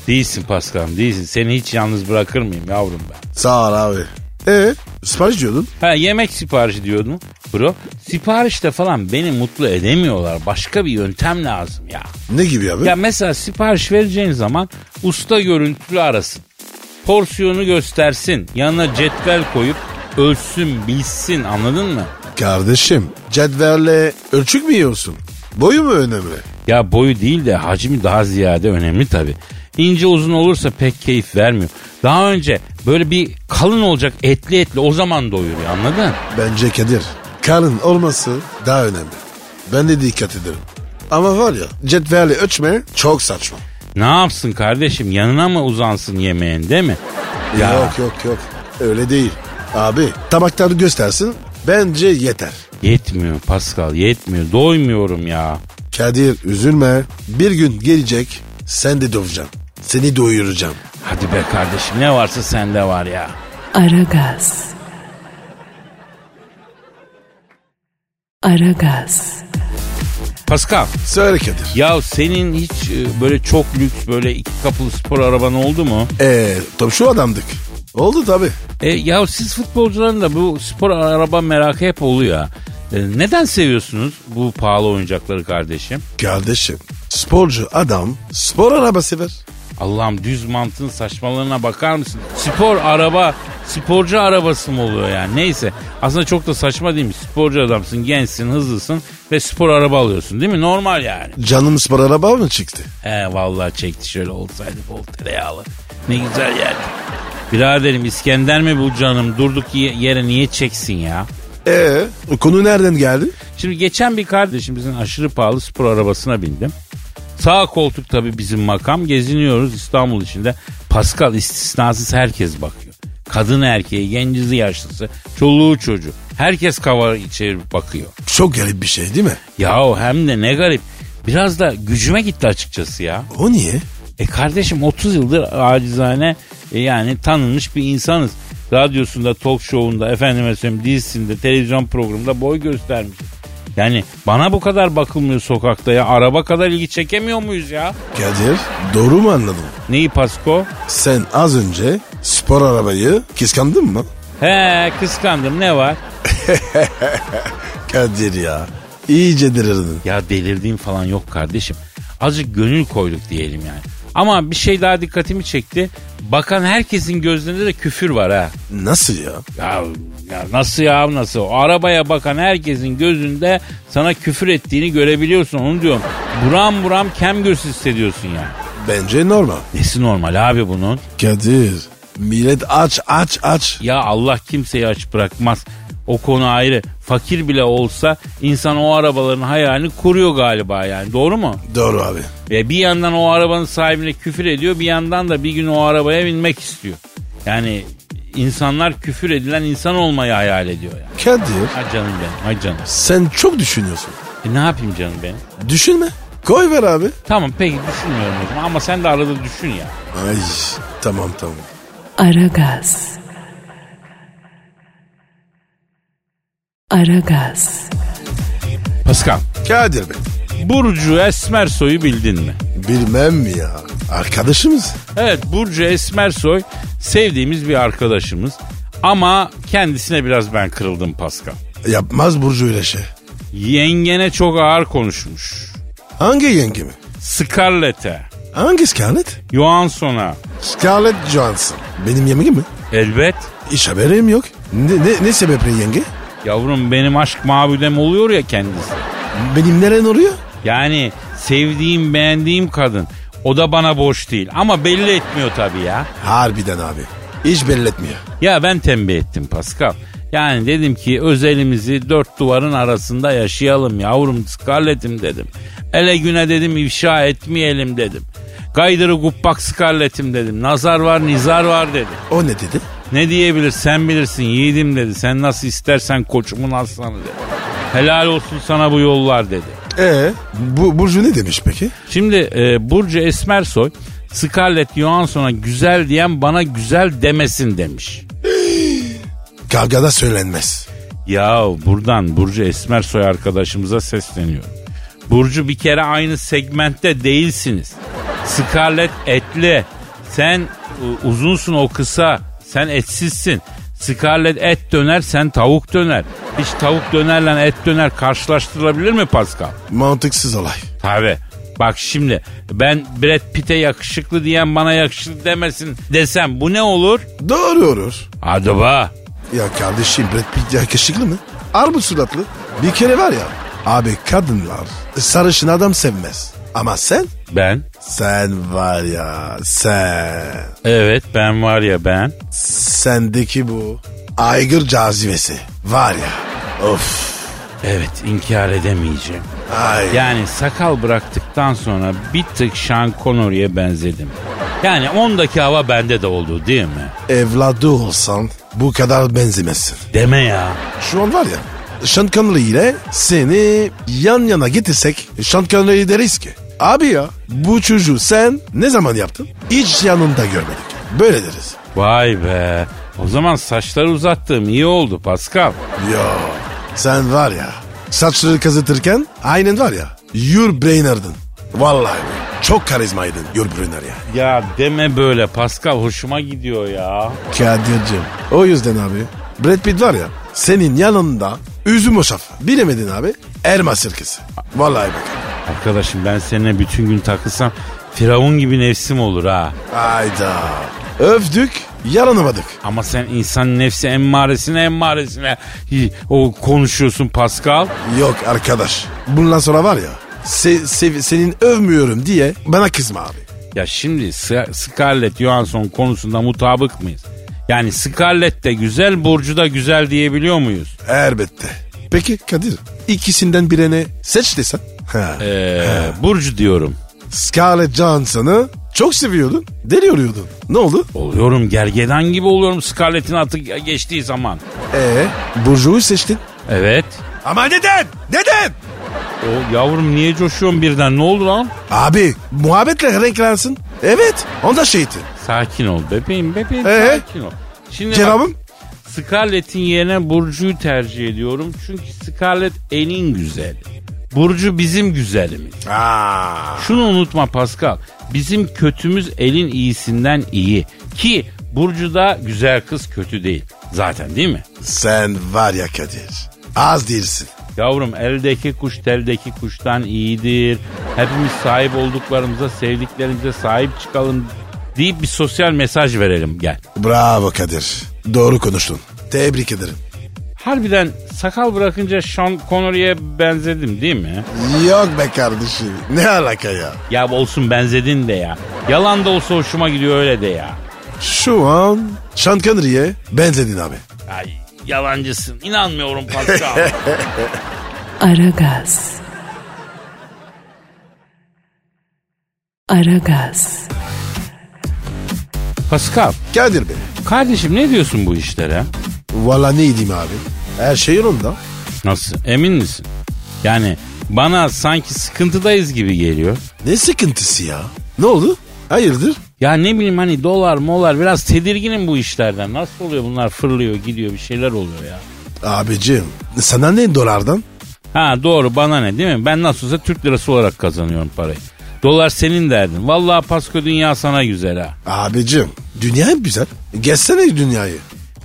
değilsin Paskal'ım değilsin. Seni hiç yalnız bırakır mıyım yavrum ben? Sağ ol abi. E sipariş diyordun. Ha yemek siparişi diyordun bro. Siparişte falan beni mutlu edemiyorlar. Başka bir yöntem lazım ya. Ne gibi abi? Ya mesela sipariş vereceğin zaman usta görüntülü arasın. Porsiyonu göstersin. Yanına cetvel koyup ölçsün bilsin anladın mı? Kardeşim cetverle ölçük mü yiyorsun? Boyu mu önemli? Ya boyu değil de hacmi daha ziyade önemli tabii. İnce uzun olursa pek keyif vermiyor. Daha önce böyle bir kalın olacak etli etli o zaman doyuruyor anladın? Bence Kadir kalın olması daha önemli. Ben de dikkat ederim. Ama var ya cetverle ölçme çok saçma. Ne yapsın kardeşim yanına mı uzansın yemeğin değil mi? Ya. Yok yok yok öyle değil. Abi tabakları göstersin bence yeter. Yetmiyor Pascal yetmiyor doymuyorum ya. Kadir üzülme bir gün gelecek sen de doyacaksın. Seni doyuracağım. Hadi be kardeşim ne varsa sende var ya. Aragaz. Aragaz. Pascal Söyle Kadir. ya senin hiç e, böyle çok lüks böyle iki kapılı spor araban oldu mu? Eee E, tabii şu adamdık. Oldu tabii. E, ya siz futbolcuların da bu spor araba merakı hep oluyor. ha. E, neden seviyorsunuz bu pahalı oyuncakları kardeşim? Kardeşim sporcu adam spor arabası ver. Allah'ım düz mantığın saçmalarına bakar mısın? Spor araba, sporcu arabası mı oluyor yani? Neyse aslında çok da saçma değil mi? Sporcu adamsın, gençsin, hızlısın ve spor araba alıyorsun değil mi? Normal yani. Canım spor araba mı çıktı? He vallahi çekti şöyle olsaydı bol tereyağlı. Ne güzel yerdi. Biraderim İskender mi bu canım? Durduk ye- yere niye çeksin ya? Eee E, konu nereden geldi? Şimdi geçen bir kardeşimizin aşırı pahalı spor arabasına bindim. Sağ koltuk tabii bizim makam. Geziniyoruz İstanbul içinde. Pascal istisnasız herkes bakıyor. Kadın erkeği, gencizi yaşlısı, çoluğu çocuğu. Herkes kava çevirip bakıyor. Çok garip bir şey değil mi? Yahu hem de ne garip. Biraz da gücüme gitti açıkçası ya. O niye? E kardeşim 30 yıldır acizane e, yani tanınmış bir insanız. Radyosunda, talk show'unda, efendime söyleyeyim dizisinde, televizyon programında boy göstermiş. Yani bana bu kadar bakılmıyor sokakta ya. Araba kadar ilgi çekemiyor muyuz ya? Kadir doğru mu anladım? Neyi Pasko? Sen az önce spor arabayı kıskandın mı? He kıskandım ne var? Kadir ya iyice delirdin. Ya delirdiğim falan yok kardeşim. Azıcık gönül koyduk diyelim yani. Ama bir şey daha dikkatimi çekti. Bakan herkesin gözlerinde de küfür var ha. Nasıl ya? Ya, ya nasıl ya nasıl? O arabaya bakan herkesin gözünde sana küfür ettiğini görebiliyorsun onu diyorum. Buram buram kem göz hissediyorsun ya. Bence normal. Nesi normal abi bunun? Kadir millet aç aç aç. Ya Allah kimseyi aç bırakmaz. O konu ayrı. Fakir bile olsa insan o arabaların hayalini kuruyor galiba yani. Doğru mu? Doğru abi. Ve bir yandan o arabanın sahibine küfür ediyor. Bir yandan da bir gün o arabaya binmek istiyor. Yani insanlar küfür edilen insan olmayı hayal ediyor yani. Kadir Ha canım benim, ha canım. sen çok düşünüyorsun. E ne yapayım canım benim? Düşünme. Koy ver abi. Tamam peki düşünmüyorum o zaman ama sen de arada düşün ya. Ay tamam tamam. Aragaz. Aragaz. Pascal. Kadir Bey. Burcu Esmersoy'u bildin mi? Bilmem mi ya. Arkadaşımız. Evet Burcu Esmersoy sevdiğimiz bir arkadaşımız. Ama kendisine biraz ben kırıldım Pascal. Yapmaz Burcu öyle şey. Yengene çok ağır konuşmuş. Hangi yenge mi? Scarlett'e, Hangi Scarlett? Johansson'a Scarlett Johansson. Benim yemeğim mi? elbet. Hiç haberim yok. Ne, ne, ne sebeple yenge? Yavrum benim aşk mabudem oluyor ya kendisi. Benim neren oluyor? Yani sevdiğim beğendiğim kadın. O da bana boş değil ama belli etmiyor tabii ya. Harbiden abi. Hiç belli etmiyor. Ya ben tembih ettim Pascal. Yani dedim ki özelimizi dört duvarın arasında yaşayalım yavrum Scarlett'im dedim. Ele güne dedim ifşa etmeyelim dedim. Gaydırı gubbak Scarlett'im dedim. Nazar var nizar var dedim. O ne dedi? Ne diyebilir sen bilirsin yiğidim dedi. Sen nasıl istersen koçumun aslanı dedi. Helal olsun sana bu yollar dedi. Ee, bu Burcu E, ne demiş peki? Şimdi e, Burcu Esmersoy Scarlett Johansson'a güzel diyen bana güzel demesin demiş. Kavgada söylenmez. Ya buradan Burcu Esmersoy arkadaşımıza sesleniyorum. Burcu bir kere aynı segmentte değilsiniz. Scarlett etli. Sen e, uzunsun o kısa. Sen etsizsin. Scarlett et döner sen tavuk döner. Hiç tavuk dönerle et döner karşılaştırılabilir mi Pascal? Mantıksız olay. Tabi. Bak şimdi ben Brad Pitt'e yakışıklı diyen bana yakışıklı demesin desem bu ne olur? Doğru olur. Hadi be. Ya kardeşim Brad Pitt yakışıklı mı? Armut suratlı. Bir kere var ya. Abi kadınlar sarışın adam sevmez. Ama sen? Ben? Sen var ya sen. Evet ben var ya ben. Sendeki bu aygır cazibesi var ya. Of. Evet inkar edemeyeceğim. Ay. Yani sakal bıraktıktan sonra bir tık Sean Connery'e benzedim. Yani ondaki hava bende de oldu değil mi? Evladı olsan bu kadar benzemezsin. Deme ya. Şu an var ya. Sean Connery ile seni yan yana getirsek Sean Connery deriz ki. Abi ya bu çocuğu sen ne zaman yaptın? Hiç yanında görmedik. Böyle deriz. Vay be. O zaman saçları uzattığım iyi oldu Pascal. Ya sen var ya saçları kazıtırken aynen var ya Your Brainer'dın. Vallahi çok karizmaydın Your Brainer ya. Ya deme böyle Pascal hoşuma gidiyor ya. Kadir'cim o yüzden abi Brad Pitt var ya senin yanında üzüm hoşaf bilemedin abi elma sirkesi. Vallahi bak. Arkadaşım ben seninle bütün gün takılsam Firavun gibi nefsim olur ha. Ayda övdük yaranamadık. Ama sen insan nefsi emmaresine emmaresine hi- o konuşuyorsun Pascal. Yok arkadaş bundan sonra var ya se- se- senin övmüyorum diye bana kızma abi. Ya şimdi Scar- Scarlett Johansson konusunda mutabık mıyız? Yani Scarlett de güzel, Burcu da güzel diyebiliyor muyuz? Elbette. Peki Kadir ikisinden birini seç desen. Ha. Ee, Burcu diyorum. Scarlett Johansson'ı çok seviyordun. Deli oluyordun. Ne oldu? Oluyorum gergedan gibi oluyorum Scarlett'in atı ge- geçtiği zaman. Ee, Burju'yu seçtin. Evet. Ama neden? Neden? O yavrum niye coşuyorsun birden ne oldu lan? Abi muhabbetle renklensin. Evet. Onda şeydi. Sakin ol bebeğim bebeğim Ee? sakin ol. Şimdi bak, Cevabım? Scarlett'in yerine Burcu'yu tercih ediyorum. Çünkü Scarlett elin güzeli. Burcu bizim güzelimiz. Aa. Şunu unutma Pascal. Bizim kötümüz elin iyisinden iyi. Ki Burcu da güzel kız kötü değil. Zaten değil mi? Sen var ya Kadir. Az değilsin. Yavrum eldeki kuş teldeki kuştan iyidir. Hepimiz sahip olduklarımıza sevdiklerimize sahip çıkalım deyip bir sosyal mesaj verelim gel. Bravo Kadir. Doğru konuştun. Tebrik ederim. Harbiden sakal bırakınca Sean Connery'e benzedim değil mi? Yok be kardeşim. Ne alaka ya? Ya olsun benzedin de ya. Yalan da olsa hoşuma gidiyor öyle de ya. Şu an Sean Connery'e benzedin abi. Ay yalancısın. İnanmıyorum Pascal. Aragaz. Aragaz. Pascal. Kadir Bey. Kardeşim ne diyorsun bu işlere? Valla ne diyeyim abi? Her şey yolunda. Nasıl? Emin misin? Yani bana sanki sıkıntıdayız gibi geliyor. Ne sıkıntısı ya? Ne oldu? Hayırdır? Ya ne bileyim hani dolar molar biraz tedirginim bu işlerden. Nasıl oluyor bunlar fırlıyor gidiyor bir şeyler oluyor ya. Abicim sana ne dolardan? Ha doğru bana ne değil mi? Ben nasıl olsa Türk lirası olarak kazanıyorum parayı. Dolar senin derdin. Vallahi Pasko dünya sana güzel ha. Abicim dünya hep güzel. Gezsene dünyayı.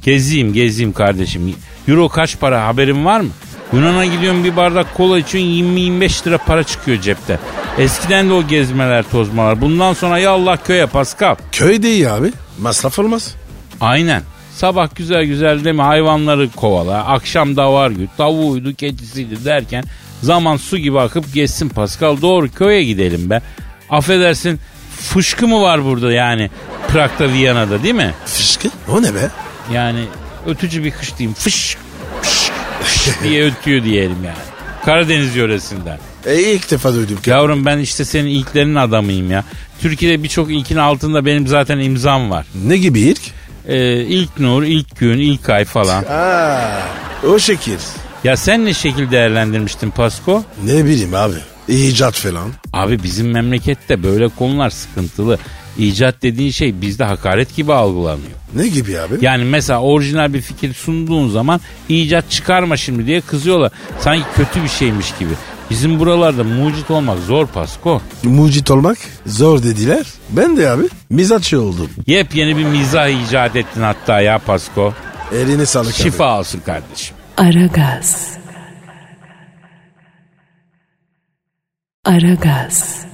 Gezeyim gezeyim kardeşim. Euro kaç para haberin var mı? Yunan'a gidiyorum bir bardak kola için 20-25 lira para çıkıyor cepte. Eskiden de o gezmeler tozmalar. Bundan sonra ya Allah köye Pascal. Köy de iyi abi. Masraf olmaz. Aynen. Sabah güzel güzel değil mi hayvanları kovala. Akşam da var güt. Tavuğuydu keçisiydi derken zaman su gibi akıp geçsin Pascal. Doğru köye gidelim be. Affedersin fışkı mı var burada yani Prag'da Viyana'da değil mi? Fışkı? O ne be? Yani ötücü bir kış diyeyim. Fış, fış, fış diye ötüyor diyelim yani. Karadeniz yöresinden. E, ilk defa duydum. ki. Yavrum ben işte senin ilklerin adamıyım ya. Türkiye'de birçok ilkin altında benim zaten imzam var. Ne gibi ilk? Ee, ilk nur, ilk gün, ilk ay falan. Aa, o şekil. Ya sen ne şekil değerlendirmiştin Pasko? Ne bileyim abi. İcat falan. Abi bizim memlekette böyle konular sıkıntılı. icat dediğin şey bizde hakaret gibi algılanıyor. Ne gibi abi? Yani mesela orijinal bir fikir sunduğun zaman icat çıkarma şimdi diye kızıyorlar. Sanki kötü bir şeymiş gibi. Bizim buralarda mucit olmak zor Pasko. Mucit olmak zor dediler. Ben de abi mizatçı oldum. Yepyeni bir mizah icat ettin hatta ya Pasko. Eline sağlık abi. Şifa olsun kardeşim. Aragaz. Aragaz.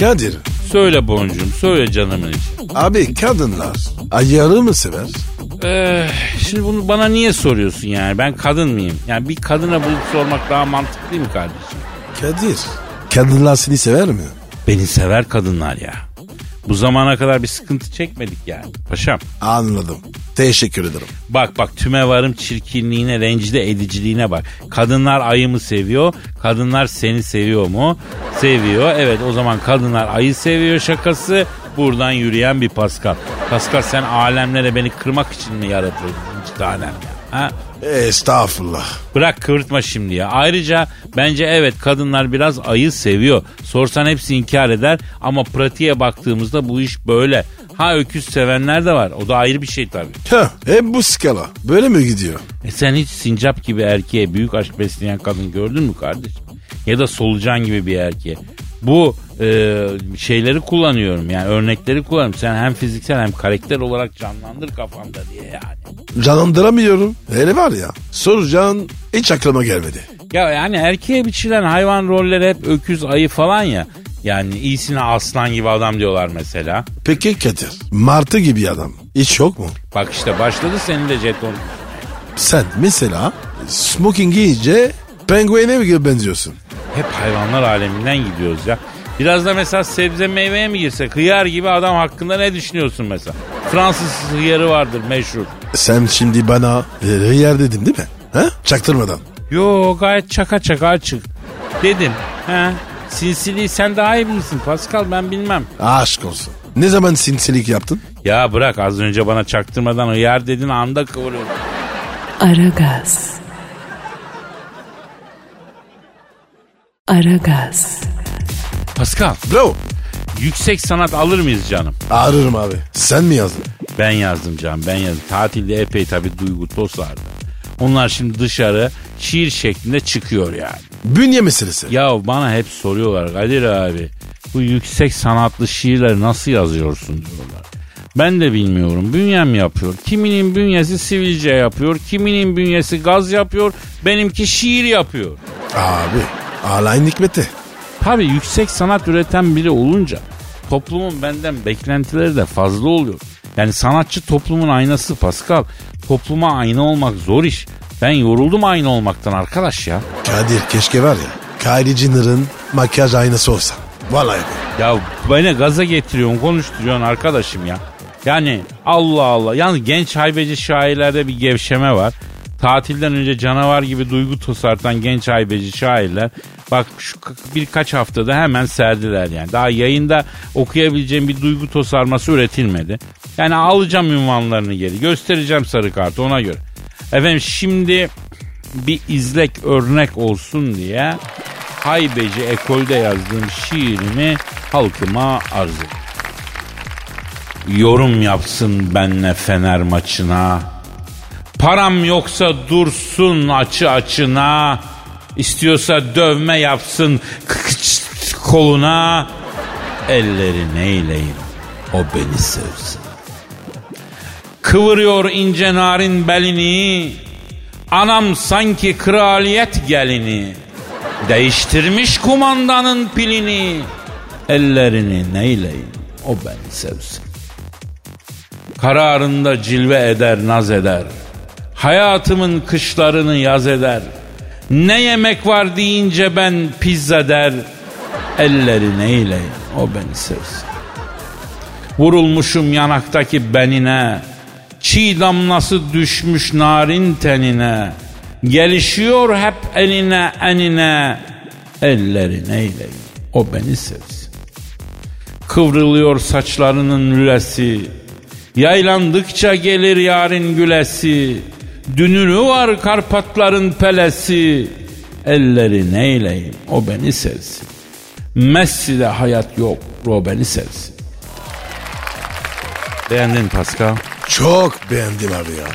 Kadir Söyle boncuğum, söyle canımın içi. abi kadınlar ayarı mı sever? Eh, şimdi bunu bana niye soruyorsun yani? Ben kadın mıyım? Yani bir kadına bulup sormak daha mantıklı değil mi kardeşim? Kadir kadınlar seni sever mi? Beni sever kadınlar ya. Bu zamana kadar bir sıkıntı çekmedik yani. Paşam Anladım. Teşekkür ederim. bak bak tüme varım çirkinliğine, rencide ediciliğine bak. Kadınlar ayı mı seviyor? Kadınlar seni seviyor mu? Seviyor. Evet o zaman kadınlar ayı seviyor şakası. Buradan yürüyen bir Pascal. Pascal sen alemlere beni kırmak için mi yaratıldın? İki tanem ya. Ha? Estağfurullah. Bırak kıvırtma şimdi ya. Ayrıca bence evet kadınlar biraz ayı seviyor. Sorsan hepsi inkar eder ama pratiğe baktığımızda bu iş böyle. Ha öküz sevenler de var. O da ayrı bir şey tabii. Heh, hep bu skala. Böyle mi gidiyor? E sen hiç sincap gibi erkeğe büyük aşk besleyen kadın gördün mü kardeşim? Ya da solucan gibi bir erkeğe. Bu e, şeyleri kullanıyorum yani örnekleri kullanıyorum. Sen hem fiziksel hem karakter olarak canlandır kafamda diye yani. Canlandıramıyorum. Hele var ya. Soracağın hiç aklıma gelmedi. Ya yani erkeğe biçilen hayvan rolleri hep öküz, ayı falan ya. Yani iyisine aslan gibi adam diyorlar mesela. Peki Kadir. Martı gibi adam. Hiç yok mu? Bak işte başladı senin de jeton. Sen mesela smoking giyince penguene mi benziyorsun? Hep hayvanlar aleminden gidiyoruz ya. Biraz da mesela sebze meyveye mi girsek? Hıyar gibi adam hakkında ne düşünüyorsun mesela? Fransız hıyarı vardır meşhur. Sen şimdi bana e, hıyar dedin değil mi? Ha? Çaktırmadan. Yo gayet çaka çaka açık. Dedim. He. Sinsiliği sen daha iyi bilirsin Pascal ben bilmem. Aşk olsun. Ne zaman sinsilik yaptın? Ya bırak az önce bana çaktırmadan hıyar dedin anda kıvırıyorum. Aragaz. Aragaz. Pascal Bro. yüksek sanat alır mıyız canım? Ağrırım abi. Sen mi yazdın? Ben yazdım canım ben yazdım. Tatilde epey tabii duygu tosardı. Onlar şimdi dışarı şiir şeklinde çıkıyor yani. Bünye meselesi. Ya bana hep soruyorlar Kadir abi bu yüksek sanatlı şiirleri nasıl yazıyorsun diyorlar. Ben de bilmiyorum. Bünyem yapıyor. Kiminin bünyesi sivilce yapıyor. Kiminin bünyesi gaz yapıyor. Benimki şiir yapıyor. Abi. Alayın hikmeti. Tabii yüksek sanat üreten biri olunca toplumun benden beklentileri de fazla oluyor. Yani sanatçı toplumun aynası Pascal. Topluma ayna olmak zor iş. Ben yoruldum ayna olmaktan arkadaş ya. Kadir keşke var ya. Kylie Jenner'ın makyaj aynası olsa. Vallahi be. Ya beni gaza getiriyorsun konuşturuyorsun arkadaşım ya. Yani Allah Allah. Yalnız genç haybeci şairlerde bir gevşeme var. Tatilden önce canavar gibi duygu tosartan genç haybeci şairler bak şu k- birkaç haftada hemen serdiler yani. Daha yayında okuyabileceğim bir duygu tosarması üretilmedi. Yani alacağım ünvanlarını geri göstereceğim sarı kartı ona göre. Efendim şimdi bir izlek örnek olsun diye Haybeci Ekol'de yazdığım şiirimi halkıma arz ediyorum. Yorum yapsın benle Fener maçına. Param yoksa dursun açı açına. İstiyorsa dövme yapsın kıkıç koluna. Ellerini eyleyim o beni sevsin. Kıvırıyor ince narin belini. Anam sanki kraliyet gelini. Değiştirmiş kumandanın pilini. Ellerini neyleyim o beni sevsin. Kararında cilve eder naz eder. Hayatımın kışlarını yaz eder. Ne yemek var deyince ben pizza der. Elleri neyleyim o beni sevsin. Vurulmuşum yanaktaki benine. Çiğ damlası düşmüş narin tenine. Gelişiyor hep eline enine. Elleri neyleyim o beni sevsin. Kıvrılıyor saçlarının lülesi. Yaylandıkça gelir yarın gülesi. Dünürü var Karpatların pelesi. Elleri neyleyim o beni sevsin. Messi'de hayat yok o beni sevsin. Beğendin Pascal. Çok beğendim abi ya.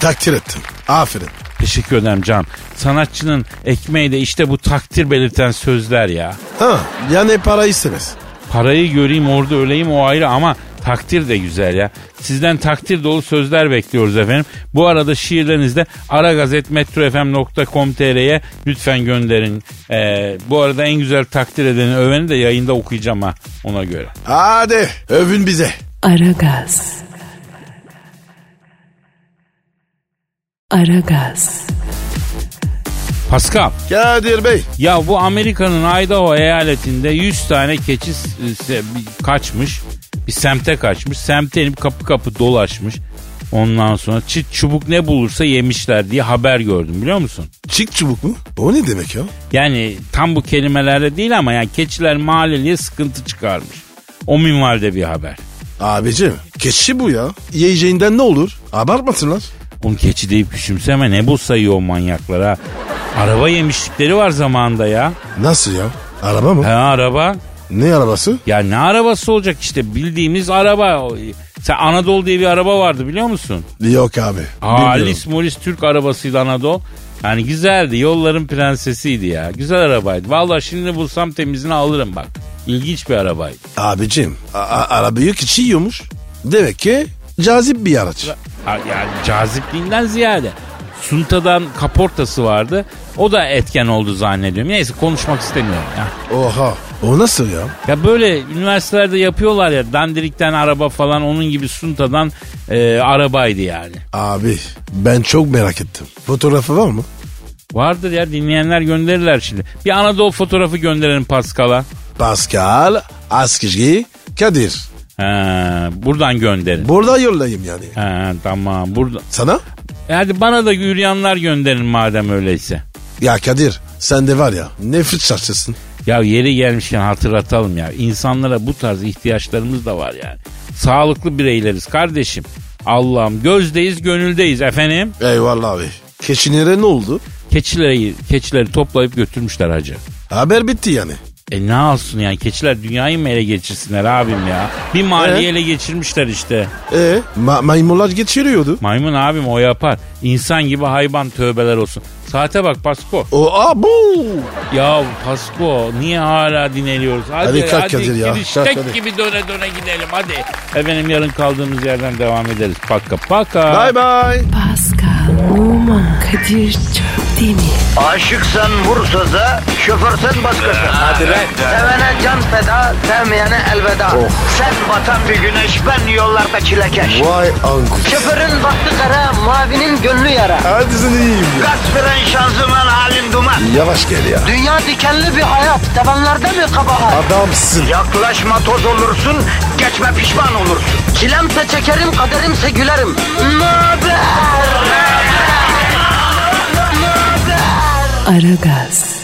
Takdir ettim. Aferin. Teşekkür ederim Can. Sanatçının ekmeği de işte bu takdir belirten sözler ya. Ha yani para istemez. Parayı göreyim orada öleyim o ayrı ama takdir de güzel ya. Sizden takdir dolu sözler bekliyoruz efendim. Bu arada şiirlerinizde aragazetmetrofm.com.tr'ye lütfen gönderin. Ee, bu arada en güzel takdir edeni öveni de yayında okuyacağım ha ona göre. Hadi övün bize. Aragaz. Aragaz. Pascal Kadir Bey. ya bu Amerika'nın Idaho eyaletinde 100 tane keçi s- e, se- bir- kaçmış. Bir semte kaçmış. Semte inip kapı kapı dolaşmış. Ondan sonra çit çubuk ne bulursa yemişler diye haber gördüm biliyor musun? Çık çubuk mu? O ne demek ya? Yani tam bu kelimelerle değil ama yani keçiler mahalleliye sıkıntı çıkarmış. O minvalde bir haber. Abicim keçi bu ya. Yiyeceğinden ne olur? Abartmasınlar. Oğlum keçi deyip küçümseme ne bu sayıyor o manyaklara. Araba yemişlikleri var zamanında ya. Nasıl ya? Araba mı? Ha araba. Ne arabası? Ya ne arabası olacak işte bildiğimiz araba. Sen Anadolu diye bir araba vardı biliyor musun? Yok abi. bilmiyorum. Halis Moris Türk arabasıydı Anadolu. Yani güzeldi yolların prensesiydi ya. Güzel arabaydı. Vallahi şimdi bulsam temizini alırım bak. İlginç bir arabaydı. Abicim a- a- arabayı keçi yiyormuş. Demek ki cazip bir araç. Ha, Yani cazipliğinden ziyade. Sunta'dan kaportası vardı. O da etken oldu zannediyorum. Neyse konuşmak istemiyorum ya. Oha. O nasıl ya? Ya böyle üniversitelerde yapıyorlar ya dandirikten araba falan onun gibi Sunta'dan e, arabaydı yani. Abi ben çok merak ettim. Fotoğrafı var mı? Vardır ya dinleyenler gönderirler şimdi. Bir Anadolu fotoğrafı gönderelim Paskal'a. Pascal Askizgi Kadir. Ha, buradan gönderin. Burada yollayayım yani. Ha, tamam burada. Sana? E Hadi bana da yürüyenler gönderin madem öyleyse. Ya Kadir sen de var ya nefret şarkısın. Ya yeri gelmişken hatırlatalım ya. İnsanlara bu tarz ihtiyaçlarımız da var yani. Sağlıklı bireyleriz kardeşim. Allah'ım gözdeyiz gönüldeyiz efendim. Eyvallah abi. Keçinere ne oldu? Keçileri, keçileri toplayıp götürmüşler hacı. Haber bitti yani. E ne alsın yani keçiler dünyayı mı ele geçirsinler abim ya? Bir mahalleyi ele geçirmişler işte. E ma- maymunlar geçiriyordu. Maymun abim o yapar. İnsan gibi hayvan tövbeler olsun. Saate bak Pasko. O abu. Ya Pasko niye hala dineliyoruz? Hadi, Hadi kalk hadi Kadir ya, giriş kalk tek hadi. gibi döne döne gidelim hadi. Efendim yarın kaldığımız yerden devam ederiz. Paka paka. Bye bye. Pascal, Oman, Kadir çok değil mi? Aşıksan vursa da, şoförsen başkasın. Hadi Sevene can feda, sevmeyene elveda. Sen batan bir güneş, ben yollarda çilekeş. Vay anku. Şoförün baktı kara, mavinin gönlü yara. Hadi sen iyiyim ya. Kasperen şanzıman halin duman. Yavaş gel ya. Dünya dikenli bir hayat, sevenlerde mi kabahar? Adamsın. Yaklaşma toz olursun, geçme pişman olursun. Çilemse çekerim, kaderimse gülerim. Möber! Aragaz.